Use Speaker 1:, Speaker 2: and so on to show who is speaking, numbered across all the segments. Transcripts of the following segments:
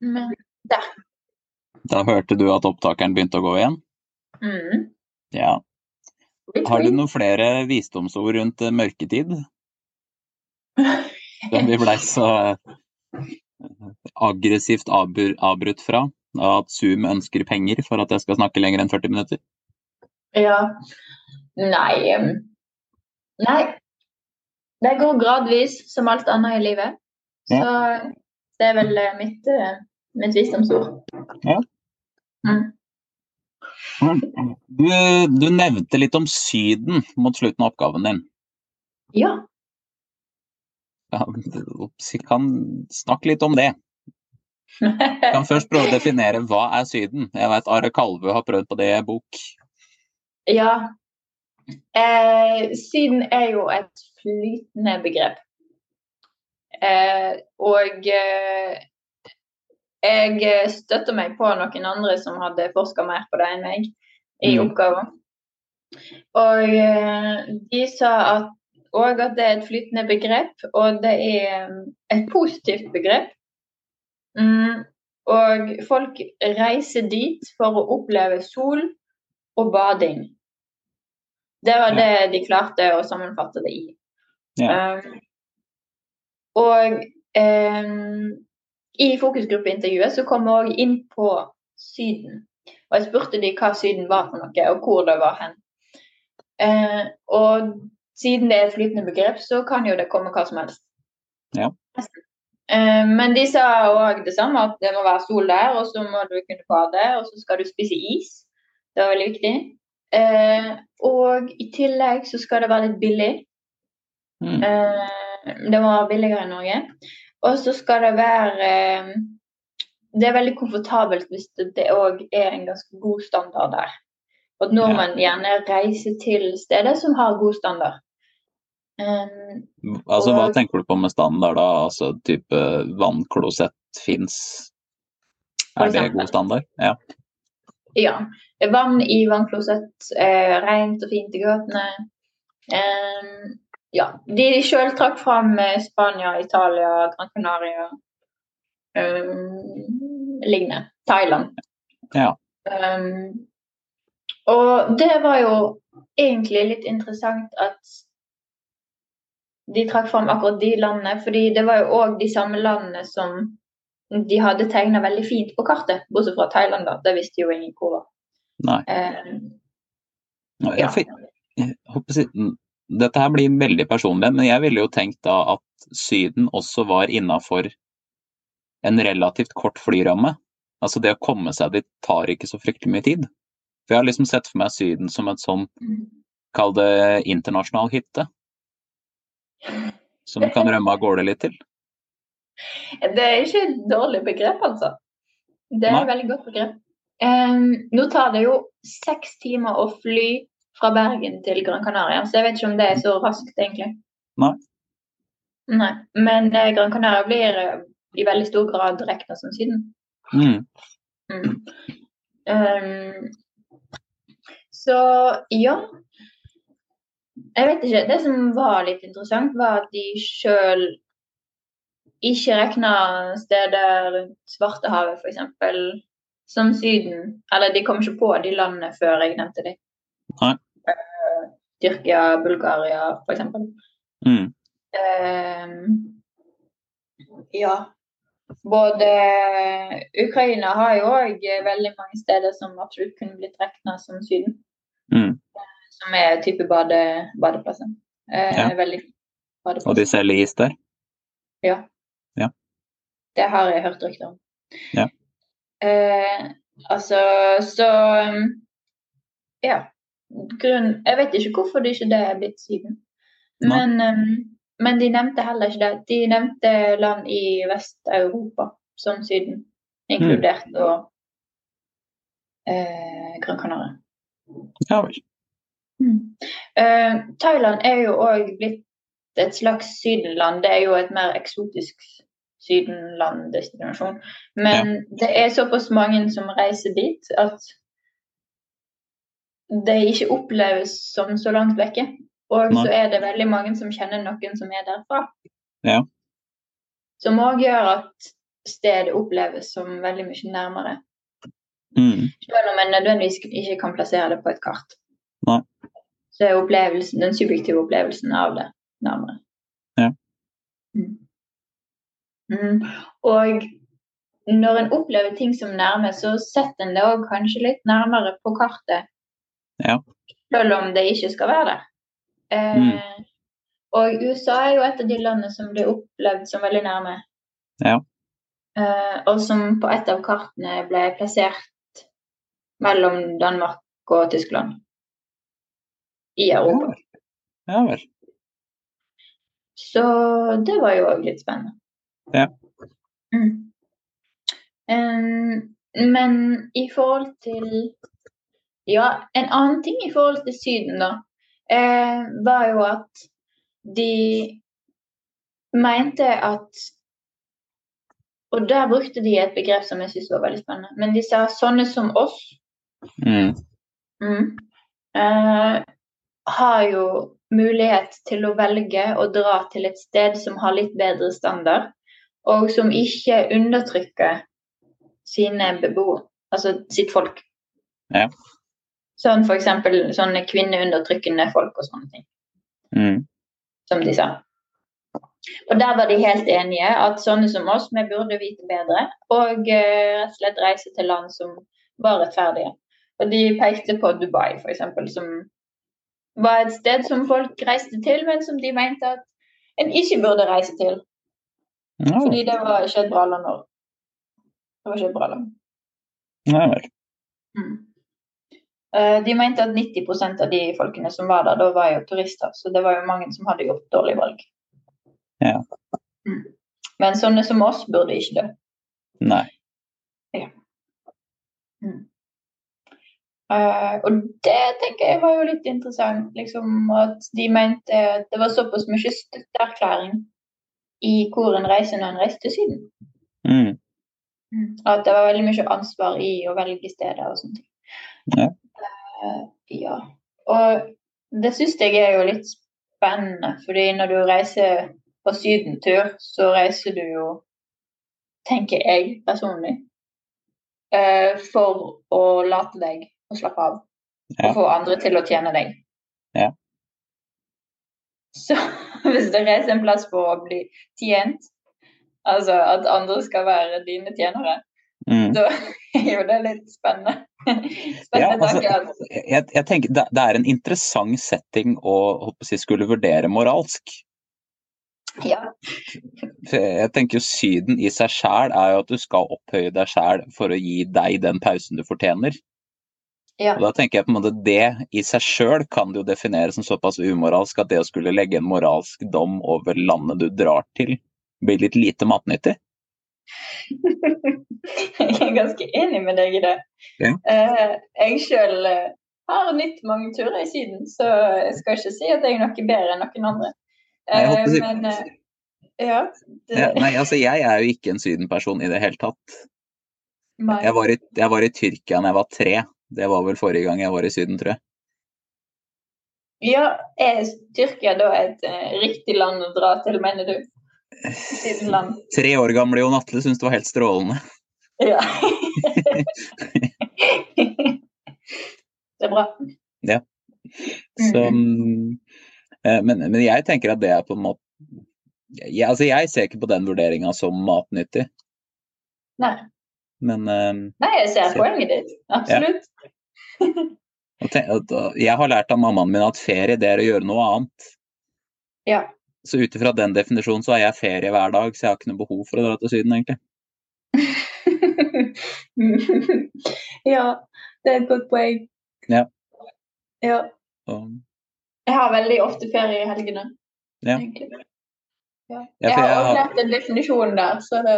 Speaker 1: Men da.
Speaker 2: Da hørte du at opptakeren begynte å gå igjen?
Speaker 1: Mm.
Speaker 2: Ja. Har du noen flere visdomsord rundt eh, mørketid? Den vi blei så eh, aggressivt abru- avbrutt fra. At Zoom ønsker penger for at jeg skal snakke lenger enn 40 minutter.
Speaker 1: Ja. Nei em, Nei. Det går gradvis, som alt annet i livet. Så det er vel eh, mitt, eh, mitt visdomsord.
Speaker 2: Ja.
Speaker 1: Mm.
Speaker 2: Du, du nevnte litt om Syden mot slutten av oppgaven din.
Speaker 1: Ja.
Speaker 2: Ja, kan snakke litt om det. Jeg kan først prøve å definere hva er Syden. Jeg vet Are Kalvø har prøvd på det i en bok.
Speaker 1: ja. Eh, Syden er jo et flytende begrep. Eh, og eh, jeg støtter meg på noen andre som hadde forska mer på det enn meg i
Speaker 2: Mm.
Speaker 1: oppgaven. Og eh, de sa at òg at det er et flytende begrep, og det er mm, et positivt begrep. Mm, og folk reiser dit for å oppleve sol og bading. Det var
Speaker 2: Ja.
Speaker 1: det de klarte å sammenfatte det i.
Speaker 2: Ja.
Speaker 1: Um, og em, i fokusgruppeintervjuet så kom vi òg inn på Syden. Og jeg spurte de hva Syden var for noe, og hvor det var hen. Eh, og siden det er et flytende begrep, så kan jo det komme hva som helst.
Speaker 2: Ja.
Speaker 1: Eh, men de sa òg det samme, at det må være sol der, og så må du kunne bade, og så skal du spise is. Det var veldig viktig. Eh, og i tillegg så skal det være litt billig.
Speaker 2: Mm.
Speaker 1: Eh, det må være billigere i Norge. Og så skal det være eh, Det er veldig komfortabelt hvis det- det òg er en ganske god standard der. Og at nordmenn gjerne reiser til steder som har god standard. Eh,
Speaker 2: Altså, hva
Speaker 1: Og-
Speaker 2: tenker du på med standard, da? Altså type vannklosett fins?
Speaker 1: For
Speaker 2: Er det
Speaker 1: eksempel.
Speaker 2: god standard? Ja.
Speaker 1: ja. Vann i vannklosett, eh, rent og fint i gatene. Eh, ja. De sjøl trakk fram eh, Spania, Italia, Gran Canaria eh, lignende. Thailand.
Speaker 2: Ja.
Speaker 1: Um, og det var jo egentlig litt interessant at de trakk fram akkurat de landene, fordi det var jo òg de samme landene som de hadde tegna veldig fint på kartet, bortsett fra Thailand, da. Det visste jo ingen hvor var.
Speaker 2: Nei.
Speaker 1: Um,
Speaker 2: Nå,
Speaker 1: ja.
Speaker 2: Jeg fikk, jeg håper si- n- dette her blir veldig personlig, men jeg ville jo tenkt da at Syden også var innafor en relativt kort flyramme. Altså det å komme seg dit tar ikke så fryktelig mye tid. For jeg har liksom sett for meg Syden som et sånn, kall det internasjonal hytte. Som kan rømme av gårde litt til.
Speaker 1: Det er ikke et dårlig begrep, altså. Det er
Speaker 2: Nei.
Speaker 1: et veldig godt begrep. Um, nå tar det jo seks timer å fly fra Bergen til Gran Canaria, så jeg vet ikke om det er så raskt, egentlig.
Speaker 2: Nei.
Speaker 1: Nei. Men eh, Gran Canaria blir eh, i veldig stor grad regna som Syden.
Speaker 2: Mm.
Speaker 1: Mm. Um, så ja. Jeg vet ikke. Det som var litt interessant, var at de sjøl ikke regna steder rundt Svartehavet, f.eks., som Syden. Eller de kom ikke på de landene før jeg nevnte dem.
Speaker 2: Nei.
Speaker 1: Tyrkia, Bulgaria, f.eks.
Speaker 2: Mm.
Speaker 1: Ehm, ja. Både eh, Ukraina har jo òg veldig mange steder som absolutt kunne blitt regna som Syden.
Speaker 2: Mm.
Speaker 1: Som er type bade, badeplasser. Eh,
Speaker 2: Ja.
Speaker 1: Veldig
Speaker 2: Og
Speaker 1: badeplasser.
Speaker 2: de selger is der.
Speaker 1: Det har jeg hørt rykter om.
Speaker 2: Ja.
Speaker 1: Eh, altså, så um, Ja. Grunn Jeg vet ikke hvorfor det ikke det er blitt siden.
Speaker 2: Nei.
Speaker 1: Men, um, men de nevnte heller ikke det. De nevnte land i Vest-Europa som Syden, inkludert
Speaker 2: Mm.
Speaker 1: og eh, Gran Canaria.
Speaker 2: Ja vel.
Speaker 1: Mm. Eh, Thailand er jo òg blitt et slags sydenland. Det er jo et mer eksotisk sydenlanddestinasjon. Men det er såpass mange som reiser dit at det ikke oppleves som så langt vekke. Og
Speaker 2: Nei.
Speaker 1: så er det veldig mange som kjenner noen som er derfra.
Speaker 2: Ja.
Speaker 1: Som òg gjør at stedet oppleves som veldig mye nærmere.
Speaker 2: Mm.
Speaker 1: Selv om en nødvendigvis ikke kan plassere det på et kart.
Speaker 2: Nei.
Speaker 1: Så er opplevelsen, den subjektive opplevelsen av det nærmere.
Speaker 2: Ja.
Speaker 1: Mm. Mm. Og når en opplever ting som nærme, så setter en det òg kanskje litt nærmere på kartet.
Speaker 2: Ja.
Speaker 1: Selv om det ikke skal være der. Eh,
Speaker 2: Mm.
Speaker 1: Og USA er jo et av de landene som blir opplevd som veldig nærme.
Speaker 2: Ja.
Speaker 1: Eh, og som på et av kartene ble plassert mellom Danmark og Tyskland i
Speaker 2: Ja
Speaker 1: Europa.
Speaker 2: vel. Ja vel.
Speaker 1: Så det var jo òg litt spennende.
Speaker 2: Ja.
Speaker 1: Mm. Em, men i forhold til Ja, en annen ting i forhold til Syden, da, eh, var jo at de mente at Og der brukte de et begrep som jeg syntes var veldig spennende. Men de sa sånne som oss
Speaker 2: Mm.
Speaker 1: Mm. Eh, har jo mulighet til å velge å dra til et sted som har litt bedre standard, og som ikke undertrykker sine beboere, altså sitt folk.
Speaker 2: Ja.
Speaker 1: Sånn for eksempel sånne kvinneundertrykkende folk og sånne ting,
Speaker 2: Mm.
Speaker 1: som de sa. Og der var de helt enige at sånne som oss, vi burde vite bedre, og eh, rett og slett reise til land som var rettferdige. Og de pekte på Dubai, f.eks., som var et sted som folk reiste til, men som de mente at en ikke burde reise til.
Speaker 2: Ja vel.
Speaker 1: Fordi det var ikke et bra land å Det var ikke et bra land.
Speaker 2: Ja vel.
Speaker 1: Mm. Eh, De mente at 90 av de folkene som var der, da var jo turister, så det var jo mange som hadde gjort dårlig valg.
Speaker 2: Ja.
Speaker 1: Mm. Men sånne som oss burde ikke dø.
Speaker 2: Nei.
Speaker 1: Eh, og det tenker jeg var jo litt interessant, liksom at de mente at det var såpass mye støtteerklæring i hvor en reiser når en reiser til Syden.
Speaker 2: Mm.
Speaker 1: At det var veldig mye ansvar i å velge steder og sånne ting.
Speaker 2: Ja.
Speaker 1: Eh, ja. Og det syns jeg er jo litt spennende, fordi når du reiser på sydentur, så reiser du jo, tenker jeg personlig, eh, for å late deg og slappe av.
Speaker 2: Ja.
Speaker 1: Og få andre til å tjene deg.
Speaker 2: Ja.
Speaker 1: Så hvis du reiser en plass for å bli tjent, altså at andre skal være dine tjenere,
Speaker 2: Mm.
Speaker 1: da er jo det litt spennende. Spennende
Speaker 2: Ja, altså-
Speaker 1: tanke at
Speaker 2: Jeg, jeg tenker det, det er en interessant setting å håper jeg, skulle vurdere moralsk.
Speaker 1: Ja.
Speaker 2: For Jeg tenker jo Syden i seg sjæl er jo at du skal opphøye deg sjæl for å gi deg den pausen du fortjener.
Speaker 1: Ja.
Speaker 2: Og da tenker jeg på en måte Det i seg sjøl kan du jo definere som såpass umoralsk at det å skulle legge en moralsk dom over landet du drar til, blir litt lite matnyttig.
Speaker 1: Jeg er ganske enig med deg i det.
Speaker 2: Ja.
Speaker 1: Eh, jeg sjøl har nytt mange turer i Syden, så jeg skal ikke si at jeg er noe bedre enn noen andre.
Speaker 2: Nei, jeg
Speaker 1: Eh,
Speaker 2: holdt på å si-
Speaker 1: men eh, ja. Det,
Speaker 2: Ja, nei, altså Jeg er jo ikke en sydenperson i det hele tatt.
Speaker 1: Mai.
Speaker 2: Jeg var i, jeg var i Tyrkia da jeg var tre. Det var vel forrige gang jeg var i Syden, tror jeg.
Speaker 1: Ja, er Tyrkia da et eh, riktig land å dra til, mener du? Siden land.
Speaker 2: Tre år gamle Jon Atle syntes det var helt strålende.
Speaker 1: Ja. det er bra.
Speaker 2: Så,
Speaker 1: Mhm.
Speaker 2: mm, eh, men, men jeg tenker at det er på en måte jeg, altså jeg ser ikke på den vurderinga som matnyttig,
Speaker 1: Nei,
Speaker 2: men eh,
Speaker 1: Nei jeg ser
Speaker 2: Så-
Speaker 1: poenget ditt. Absolutt.
Speaker 2: og te- og- og jeg har lært av mammaen min at ferie det er å gjøre noe annet.
Speaker 1: Ja.
Speaker 2: Så ut ifra den definisjonen så har jeg ferie hver dag, så jeg har ikke noe behov for å dra til Syden, egentlig.
Speaker 1: ja, det er et godt poeng.
Speaker 2: Ja.
Speaker 1: ja.
Speaker 2: Så,
Speaker 1: Jeg har veldig ofte ferie i helgene.
Speaker 2: Ja.
Speaker 1: egentlig. Ja.
Speaker 2: Ja,
Speaker 1: Jeg
Speaker 2: for
Speaker 1: har
Speaker 2: jeg
Speaker 1: også
Speaker 2: har-
Speaker 1: lært en definisjon der, så det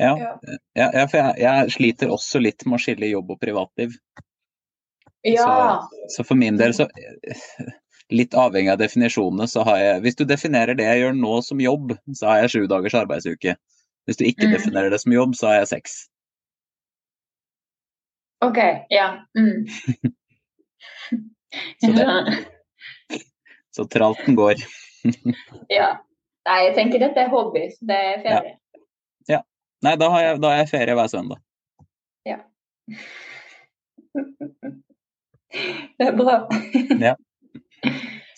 Speaker 2: ja.
Speaker 1: Ja.
Speaker 2: Ja, ja, for jeg, jeg sliter også litt med å skille jobb og privatliv.
Speaker 1: Ja.
Speaker 2: Så for min del, så litt avhengig av definisjonene, så har jeg Hvis du definerer det jeg gjør nå som jobb, så har jeg sju dagers arbeidsuke. Hvis du ikke
Speaker 1: Mm.
Speaker 2: definerer det som jobb, så har jeg seks.
Speaker 1: OK. Ja. Mm.
Speaker 2: Så Så tralten går.
Speaker 1: ja. Nei, jeg tenker dette er hobby, så det er ferie.
Speaker 2: Ja. Nei, da har jeg, da har jeg ferie hver søndag.
Speaker 1: Det er bra.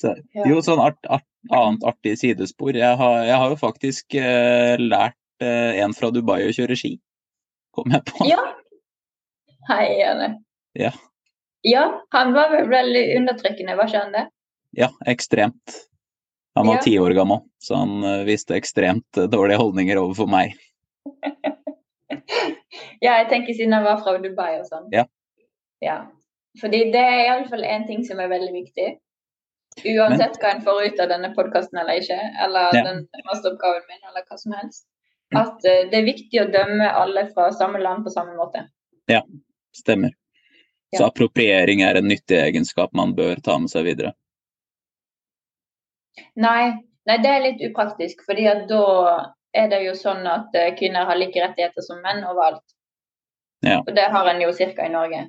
Speaker 2: Så,
Speaker 1: Ja.
Speaker 2: jo, sånn art, art, annet artig sidespor. Jeg har, jeg har jo faktisk eh, lært eh, en fra Dubai å kjøre ski, kom jeg på.
Speaker 1: Ja. Hei, Janne.
Speaker 2: Ja.
Speaker 1: Ja, han var vel veldig undertrykkende, var ikke han det?
Speaker 2: Ja, ekstremt. Han var
Speaker 1: Ja.
Speaker 2: ti år gammel, så han eh, viste ekstremt eh, dårlige holdninger overfor meg.
Speaker 1: Ja, jeg tenker siden han var fra Dubai og sånn.
Speaker 2: Ja.
Speaker 1: ja. Fordi det er iallfall én ting som er veldig viktig. Uansett hva en får ut av denne podkasten eller ikke, eller
Speaker 2: Ja. Mm.
Speaker 1: den masteroppgaven min, eller hva som helst. At eh, det er viktig å dømme alle fra samme land på samme måte.
Speaker 2: Stemmer. Så
Speaker 1: Ja.
Speaker 2: appropriering er en nyttig egenskap man bør ta med seg videre.
Speaker 1: Nei, nei det er litt upraktisk, fordi at da er det jo sånn at eh, kvinner har like rettigheter som menn overalt.
Speaker 2: Ja.
Speaker 1: Og det har en jo cirka i Norge.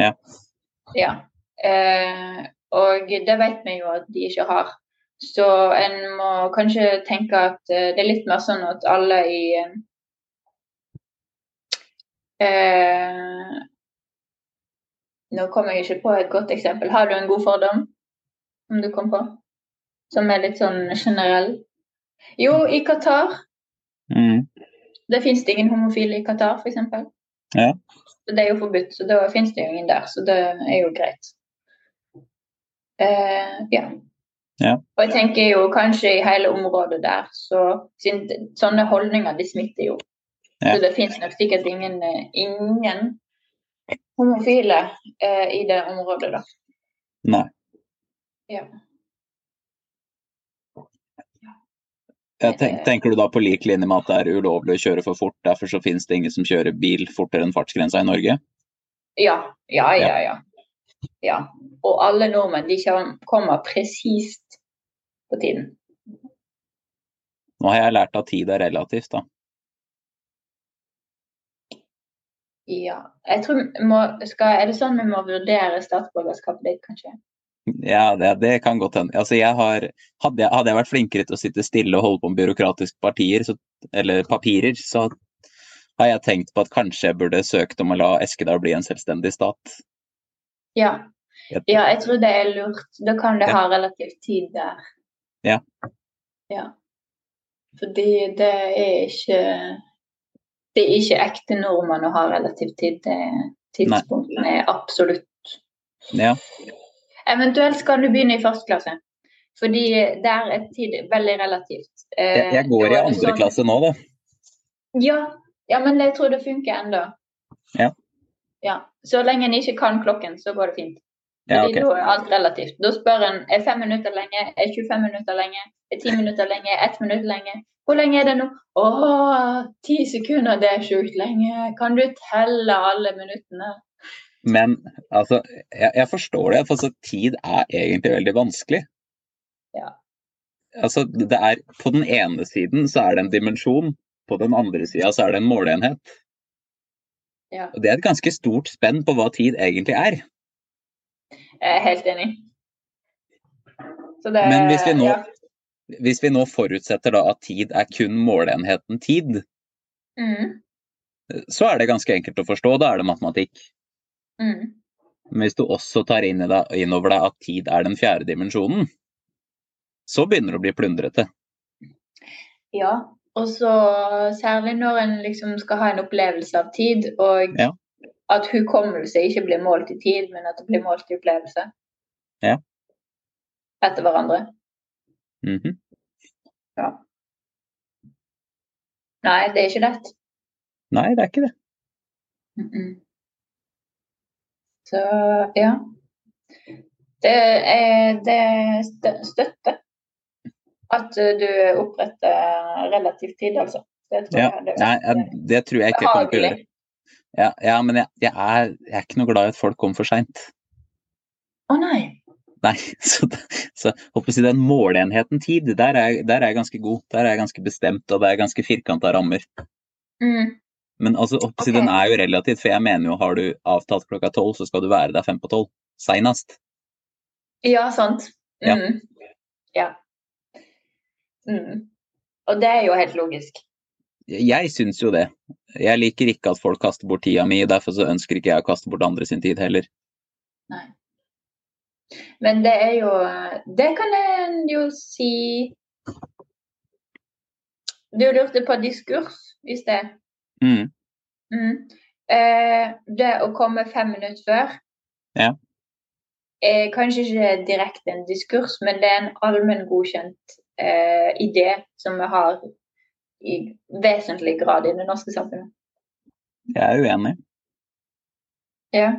Speaker 2: Ja.
Speaker 1: Ja. Eh, og det vet vi jo at de ikke har. Så en må kanskje tenke at eh, det er litt mer sånn at alle i eh, Nå kommer jeg ikke på et godt eksempel. Har du en god fordom? Om du kom på? Som er litt sånn generell. Jo, i Qatar.
Speaker 2: Mm.
Speaker 1: Det fins det ingen homofile i Qatar, f.eks.
Speaker 2: Ja.
Speaker 1: Det er jo forbudt, så da fins det jo ingen der. Så det er jo greit. Eh, ja.
Speaker 2: Ja.
Speaker 1: Og jeg tenker jo kanskje i hele området der, så siden det- sånne holdninger de smitter jo.
Speaker 2: Ja.
Speaker 1: Så det fins nok sikkert ingen, eh, ingen homofile eh, i det området, da.
Speaker 2: Nei.
Speaker 1: Ja. Eh,
Speaker 2: Jeg tenk, tenker du da på lik linje med at det er ulovlig å kjøre for fort, derfor så finnes det ingen som kjører bil fortere enn fartsgrensa i Norge?
Speaker 1: Ja, ja, ja, ja. ja. Og alle nordmenn de kjem- kommer presist på tiden.
Speaker 2: Nå har jeg lært at tid er relativt, da.
Speaker 1: Ja. Jeg tror vi må, skal, Er det sånn vi må vurdere statsborgerskapet ditt, kanskje?
Speaker 2: Ja, det, det kan godt hende. Altså, jeg har, hadde, jeg, hadde jeg vært flinkere til å sitte stille og holde på med byråkratiske partier, så, eller papirer, så har jeg tenkt på at kanskje jeg burde søkt om å la Eskedal bli en selvstendig stat.
Speaker 1: Ja.
Speaker 2: Jeg-
Speaker 1: ja, jeg tror det er lurt. Da kan det
Speaker 2: Ja.
Speaker 1: ha relativt tid der.
Speaker 2: Ja.
Speaker 1: ja. Fordi det er ikke Det er ikke ekte nordmann å ha relativt tid. Det tidspunktet er absolutt
Speaker 2: Ja,
Speaker 1: Eventuelt skal du begynne i første klasse. Fordi der er tid veldig relativt. Eh,
Speaker 2: jeg, jeg går i
Speaker 1: og
Speaker 2: andre
Speaker 1: sånn-
Speaker 2: klasse nå, da.
Speaker 1: Ja, ja, men jeg tror det funker ennå.
Speaker 2: Ja.
Speaker 1: ja. Så lenge en ikke kan klokken, så går det fint.
Speaker 2: Ja,
Speaker 1: Fordi
Speaker 2: ok.
Speaker 1: Da er alt relativt. Da spør en er fem minutter lenge, er 25 minutter lenge, er 10 minutter lenge, er 1 minutt lenge. Hvor lenge er det nå? Å, ti sekunder, det er sjukt lenge. Kan du telle alle minuttene?
Speaker 2: Men altså, jeg, jeg forstår det. For altså, tid er egentlig veldig vanskelig.
Speaker 1: Ja.
Speaker 2: Altså, det er På den ene siden så er det en dimensjon, på den andre sida så er det en måleenhet.
Speaker 1: Ja.
Speaker 2: Og det er et ganske stort spenn på hva tid egentlig er.
Speaker 1: Jeg er helt enig. Så det-
Speaker 2: Men hvis vi nå-
Speaker 1: ja.
Speaker 2: Hvis vi nå forutsetter da at tid er kun måleenheten tid,
Speaker 1: Mm,
Speaker 2: så er det ganske enkelt å forstå, da er det matematikk.
Speaker 1: mm.
Speaker 2: Men hvis du også tar inn, i deg, inn over deg at tid er den fjerde dimensjonen, så begynner det å bli plundrete.
Speaker 1: Ja, og så særlig når en liksom skal ha en opplevelse av tid, og
Speaker 2: Ja.
Speaker 1: at hukommelse ikke blir målt i tid, men at det blir målt i opplevelse.
Speaker 2: Ja.
Speaker 1: Etter hverandre.
Speaker 2: Mhm.
Speaker 1: Nei, det er ikke lett.
Speaker 2: Nei, det er ikke det.
Speaker 1: Mm-mm. Så ja. Det er det er stø- støtte. At eh, du oppretter relativt tid, altså. Det tror
Speaker 2: Ja.
Speaker 1: jeg det
Speaker 2: Nei, jeg- det tror jeg ikke jeg kommer til å gjøre.
Speaker 1: Behagelig.
Speaker 2: Ja, ja men jeg, jeg, er, jeg er ikke noe glad i at folk kommer for seint.
Speaker 1: Å nei.
Speaker 2: Nei, så, så håper jeg å si den måleenheten tid, der er, jeg- der er jeg ganske god. Der er jeg ganske bestemt, og det er ganske firkanta rammer.
Speaker 1: Mm.
Speaker 2: Men altså, oppsi,
Speaker 1: Ok.
Speaker 2: den er jo relativt, for jeg mener jo har du avtalt klokka tolv, så skal du være der fem på tolv. Seinest.
Speaker 1: Ja, sant.
Speaker 2: Ja.
Speaker 1: Mm. Ja. Mm. Og det er jo helt logisk.
Speaker 2: Jeg syns jo det. Jeg liker ikke at folk kaster bort tida mi, derfor så ønsker ikke jeg å kaste bort andre sin tid heller.
Speaker 1: Nei. Men det er jo Det kan en jo si Du lurte på diskurs i sted.
Speaker 2: Mm.
Speaker 1: Mm. Eh, det å komme fem minutter før
Speaker 2: Ja.
Speaker 1: er kanskje ikke direkte en diskurs, men det er en allmenngodkjent eh, idé som vi har i vesentlig grad i det norske samfunnet.
Speaker 2: Jeg er uenig.
Speaker 1: Ja.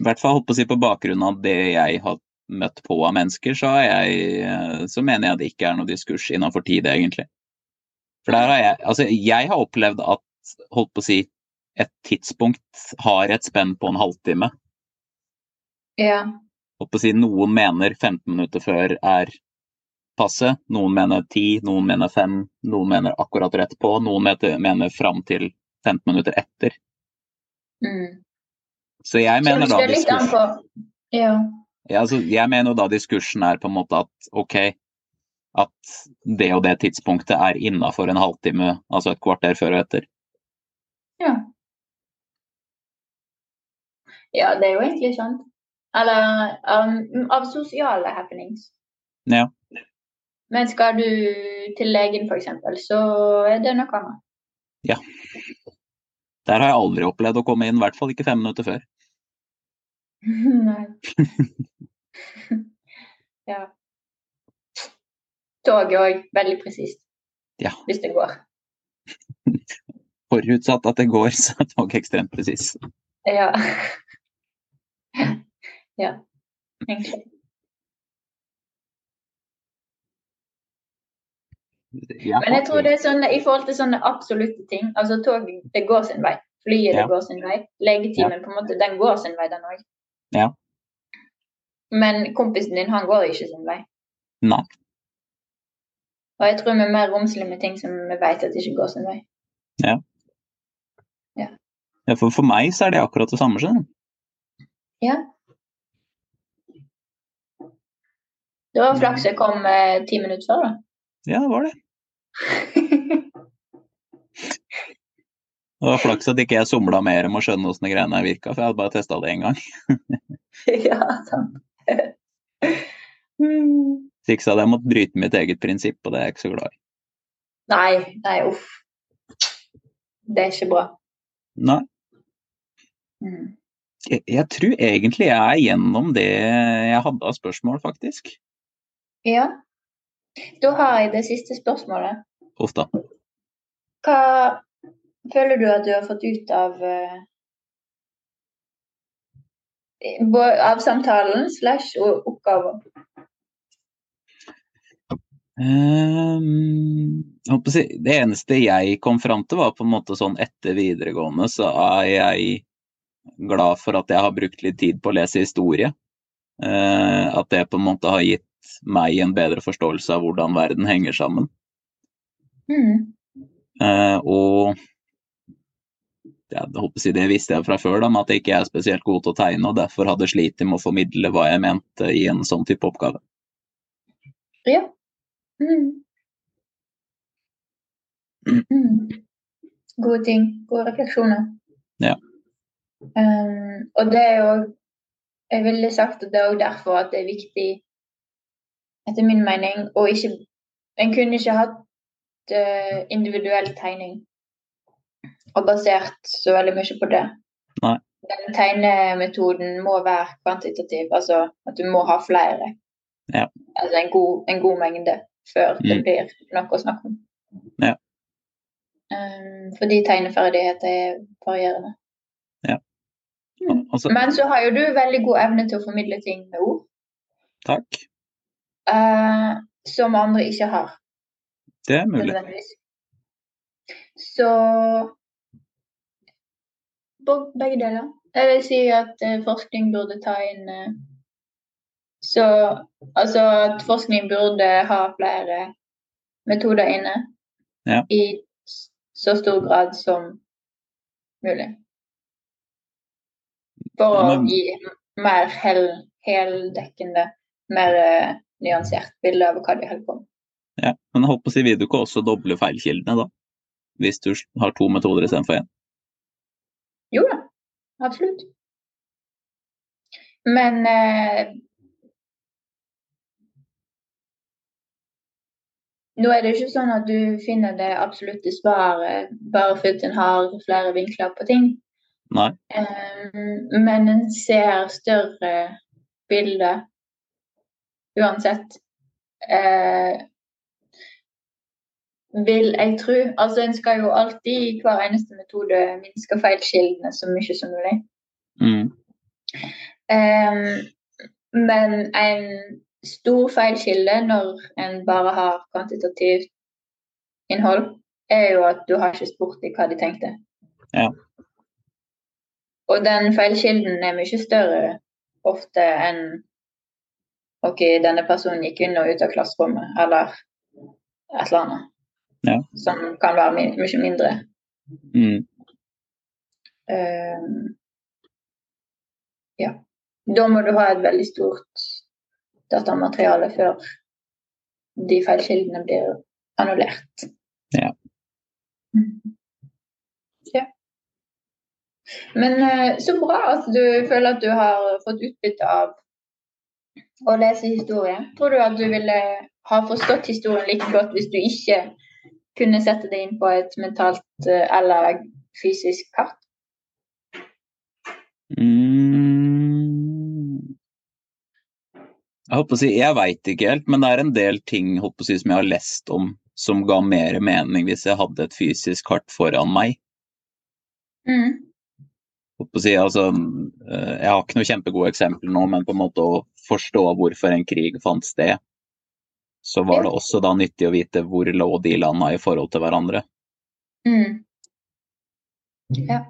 Speaker 2: I hvert fall holdt på å si på bakgrunn av det jeg har møtt på av mennesker, så, har jeg, eh, så mener jeg det ikke er noe diskurs innenfor tid, egentlig. For der har jeg Altså, jeg har opplevd at, holdt på å si, et tidspunkt har et spenn på en halvtime.
Speaker 1: ja.
Speaker 2: holdt på å si, noen mener 15 minutter før er passe, noen mener 10, noen mener 5, noen mener akkurat rett på, noen mener, mener fram til 15 minutter etter.
Speaker 1: Mm.
Speaker 2: Så jeg mener
Speaker 1: Så
Speaker 2: da
Speaker 1: det er litt an
Speaker 2: diskurs,
Speaker 1: på ja.
Speaker 2: ja, altså, jeg mener jo da diskursen er på en måte at ok, at det og det tidspunktet er innafor en halvtime, altså et kvarter før og etter.
Speaker 1: ja. Ja, det er jo egentlig sant. Eller um, av sosiale happenings.
Speaker 2: Ja.
Speaker 1: Men skal du til legen, f.eks., så er det noe annet.
Speaker 2: Der har jeg aldri opplevd å komme inn, i hvert fall ikke fem minutter før.
Speaker 1: Nei. ja. Toget òg, veldig presist.
Speaker 2: Ja.
Speaker 1: Hvis det går.
Speaker 2: Forutsatt at det går, så er toget ekstremt presis.
Speaker 1: Ja. ja. Egentlig.
Speaker 2: Ja,
Speaker 1: Men jeg tror det er sånn i forhold til sånne absolutte ting. Altså tog, det går sin vei. Flyet, det
Speaker 2: Ja.
Speaker 1: går sin vei. Legetimen, på en måte, den går sin vei, den òg.
Speaker 2: Ja.
Speaker 1: Men kompisen din, han går ikke sin vei.
Speaker 2: Nei.
Speaker 1: Og jeg tror vi er mer romslige med ting som vi vet at ikke går sin vei.
Speaker 2: Ja, for, for meg så er det akkurat det samme. skjønner du.
Speaker 1: Ja. Det var flaks
Speaker 2: Mm.
Speaker 1: jeg kom eh, ti minutter før, da.
Speaker 2: Ja, det var det. Det var flaks at ikke jeg somla mer om å skjønne åssen de greiene her virka, for jeg hadde bare testa det én gang.
Speaker 1: ja, sant. Mm.
Speaker 2: Så ikke så hadde jeg måttet bryte mitt eget prinsipp, og det er jeg ikke så glad i.
Speaker 1: Nei, nei, uff. Det er ikke bra.
Speaker 2: Nei,
Speaker 1: Mm.
Speaker 2: jeg, jeg tror egentlig jeg er gjennom det jeg hadde av spørsmål, faktisk.
Speaker 1: Ja. Da har jeg det siste spørsmålet.
Speaker 2: Uff da.
Speaker 1: Hva føler du at du har fått ut av eh, bo- av samtalen slash og oppgaven?
Speaker 2: Ehm, jeg håper å si, det eneste jeg kom fram til, var på en måte sånn etter videregående, så er jeg glad for at jeg har brukt litt tid på å lese historie. Eh, at det på en måte har gitt meg en bedre forståelse av hvordan verden henger sammen.
Speaker 1: Mm.
Speaker 2: Eh, og ja, jeg håper å si, det visste jeg fra før, da, med at jeg ikke er spesielt god til å tegne, og derfor hadde slitt med å formidle hva jeg mente i en sånn type oppgave.
Speaker 1: Ja. Mm. Mm. Gode ting. Gode refleksjoner.
Speaker 2: Ja.
Speaker 1: Ehm, og det er jo Jeg ville sagt at det er jo derfor at det er viktig, etter min mening, å ikke En kunne ikke hatt eh, individuell tegning og basert så veldig mye på det.
Speaker 2: Nei.
Speaker 1: Den tegnemetoden må være kvantitativ, altså at du må ha flere.
Speaker 2: Ja.
Speaker 1: Altså en god, en god mengde før det
Speaker 2: Mm.
Speaker 1: blir noe å snakke om.
Speaker 2: Ja.
Speaker 1: Ehm, fordi tegneferdigheter er varierende.
Speaker 2: Og- og så-
Speaker 1: Men så har jo du veldig god evne til å formidle ting med ord
Speaker 2: takk.
Speaker 1: eh, som andre ikke har.
Speaker 2: Det er mulig.
Speaker 1: nødvendigvis. Så Bo- begge deler. Jeg vil si at eh, forskning burde ta inn eh, Så altså at forskning burde ha flere metoder inne
Speaker 2: Ja.
Speaker 1: i s- så stor grad som mulig. For å
Speaker 2: Ja, men-
Speaker 1: gi mer hel, heldekkende, mer eh, nyansert bilde av hva de holder på med.
Speaker 2: Ja, men jeg holdt på å si, vil du ikke også doble feilkildene da? hvis du har to metoder istedenfor én.
Speaker 1: Jo da, absolutt. Men eh, Nå er det jo ikke sånn at du finner det absolutte svaret bare fordi en har flere vinkler på ting.
Speaker 2: Nei.
Speaker 1: Eh, men en ser større bilder uansett. Eh, vil jeg tro. Altså, en skal jo alltid i hver eneste metode minske feilkildene så mye som mulig.
Speaker 2: Mm.
Speaker 1: Ehm, men en stor feilkilde når en bare har kvantitativt innhold, er jo at du har ikke spurt i hva de tenkte.
Speaker 2: Ja.
Speaker 1: Og den feilkilden er mye større ofte enn OK, denne personen gikk inn og ut av klasserommet, eller et eller annet.
Speaker 2: Ja.
Speaker 1: Som kan være mi- mye mindre.
Speaker 2: Mm.
Speaker 1: Ehm, ja. Da må du ha et veldig stort datamateriale før de feilkildene blir annullert.
Speaker 2: Ja.
Speaker 1: Mhm. ja. Men eh, så bra at du føler at du har fått utbytte av å lese historie. Tror du at du ville ha forstått historien like godt hvis du ikke kunne sette deg inn på et mentalt eh, eller fysisk kart?
Speaker 2: Mm. Jeg holdt på å si, jeg veit ikke helt, men det er en del ting holdt på å si, som jeg har lest om som ga mer mening hvis jeg hadde et fysisk kart foran meg.
Speaker 1: Mm.
Speaker 2: holdt på å si, altså, eh, jeg har ikke noe kjempegode eksempler nå, men på en måte å forstå hvorfor en krig fant sted, så var det også da nyttig å vite hvor lå de landa i forhold til hverandre.
Speaker 1: Mm. Ja.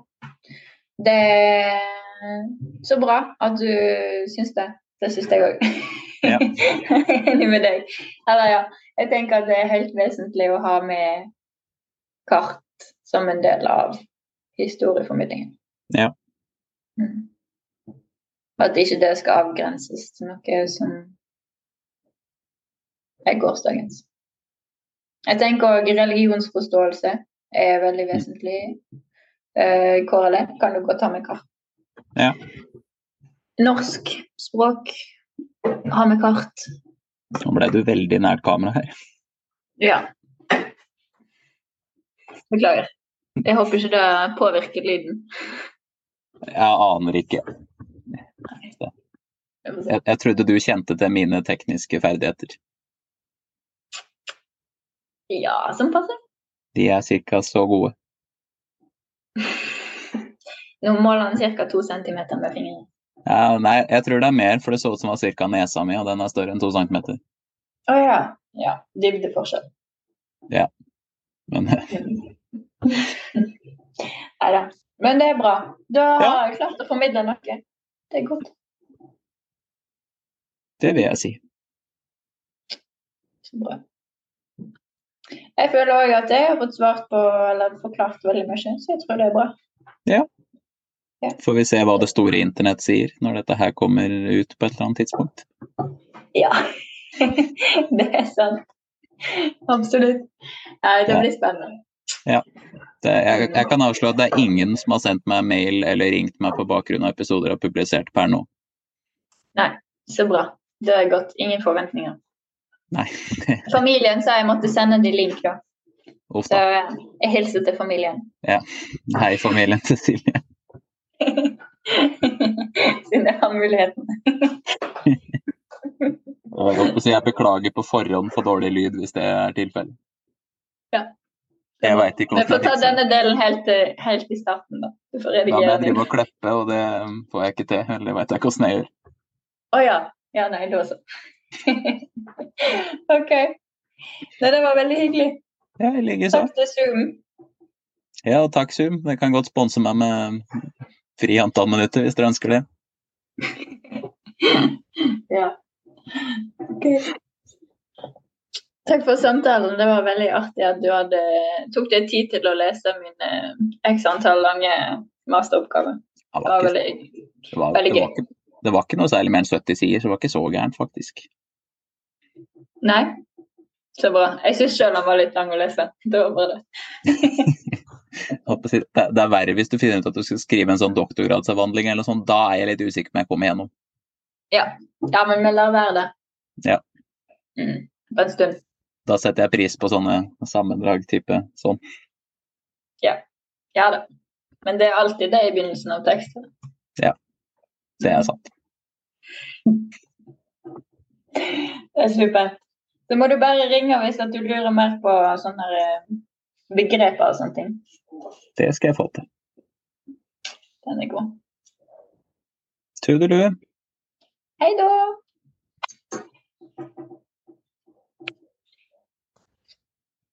Speaker 1: Det er så bra at du syns det. Det syns jeg òg.
Speaker 2: Ja.
Speaker 1: Jeg er enig med deg. Eller ja, jeg tenker at det er helt vesentlig å ha med kart som en del av historieformidlingen.
Speaker 2: Ja.
Speaker 1: Mm. At ikke det skal avgrenses til noe som er gårsdagens. Jeg tenker òg religionsforståelse er
Speaker 2: Mm.
Speaker 1: veldig vesentlig. Eh, KRLE kan du godt ta med kart.
Speaker 2: Ja.
Speaker 1: Norsk språk ha med kart.
Speaker 2: Nå ble du veldig nært kamera her.
Speaker 1: Ja. Beklager. Jeg håper ikke det påvirker lyden.
Speaker 2: Jeg aner ikke.
Speaker 1: Jeg får se.
Speaker 2: Jeg, jeg trodde du kjente til mine tekniske ferdigheter.
Speaker 1: Ja, som passer.
Speaker 2: De er ca. så gode.
Speaker 1: Nå måler han ca. to centimeter med fingeren.
Speaker 2: Ja, nei, jeg tror det er mer, for det så ut som det var ca. nesa mi, og den er større enn to centimeter.
Speaker 1: Å ja. Ja. Dybdeforskjell.
Speaker 2: Men eh,
Speaker 1: Nei da. Men det er bra. Da
Speaker 2: Ja.
Speaker 1: har jeg klart å formidle noe. Det er godt.
Speaker 2: det vil jeg si.
Speaker 1: Så bra. Jeg føler òg at jeg har fått svart på eller forklart veldig mye, så jeg tror det er bra.
Speaker 2: Får vi se hva det store internett sier når dette her kommer ut på et eller annet tidspunkt.
Speaker 1: Ja, det er sant. Absolutt. Nei, det
Speaker 2: Ja.
Speaker 1: blir spennende.
Speaker 2: Det, jeg, jeg kan avslå at det er ingen som har sendt meg mail eller ringt meg på bakgrunn av episoder jeg har publisert per nå.
Speaker 1: Så bra. Det er godt. Ingen forventninger.
Speaker 2: Nei.
Speaker 1: Familien sa jeg måtte sende de link, da.
Speaker 2: Uff
Speaker 1: Så
Speaker 2: da.
Speaker 1: jeg hilser til familien.
Speaker 2: Hei, familien til Silje.
Speaker 1: Siden jeg har muligheten.
Speaker 2: Og jeg holdt på å si, Jeg beklager på forhånd for dårlig lyd hvis det er tilfellet.
Speaker 1: Ja.
Speaker 2: Jeg veit ikke
Speaker 1: Vi får
Speaker 2: hvordan
Speaker 1: ta
Speaker 2: jeg fikser det.
Speaker 1: denne delen helt, til- helt i starten, da. Du får
Speaker 2: Da må
Speaker 1: redigere
Speaker 2: jeg
Speaker 1: den.
Speaker 2: drive og kleppe, og det um, får jeg ikke til. Eller det veit jeg ikke åssen jeg gjør.
Speaker 1: Å ja. Ja, nei, da så. OK. Nei, det var veldig hyggelig.
Speaker 2: Ja, jeg ligger sånn.
Speaker 1: Takk til Zoom.
Speaker 2: Ja, og takk Zoom. Dere kan godt sponse meg med fri antall minutter hvis dere ønsker det.
Speaker 1: Ja. Takk for samtalen. Det var veldig artig at du hadde, tok deg tid til å lese mine x antall lange masteroppgaver.
Speaker 2: Ja,
Speaker 1: Det var
Speaker 2: det, var ikke,
Speaker 1: veldig hyggelig.
Speaker 2: det, var,
Speaker 1: veldig
Speaker 2: det, var
Speaker 1: gøy.
Speaker 2: ikke, det var ikke noe særlig mer enn 70 sider, så det var ikke så gærent, faktisk.
Speaker 1: Nei? Så bra. Jeg syns sjøl han var litt lang å lese. Det var bare det.
Speaker 2: Jeg håper å si, Det det er verre hvis du finner ut at du skal skrive en sånn doktorgradsavhandling eller sånn. Da er jeg litt usikker på om jeg kommer gjennom.
Speaker 1: ja, men vi lar være det.
Speaker 2: Ja.
Speaker 1: Mm. På en stund.
Speaker 2: Da setter jeg pris på sånne sammendrag-type sånn.
Speaker 1: Ja da. Men det er alltid det i begynnelsen av teksten.
Speaker 2: Det er sant.
Speaker 1: Det er supert. Så må du bare ringe hvis at du lurer mer på sånne her, eh, begreper og sånne ting.
Speaker 2: Det skal jeg få til.
Speaker 1: Den er god.
Speaker 2: Tudelue.
Speaker 1: Hei da!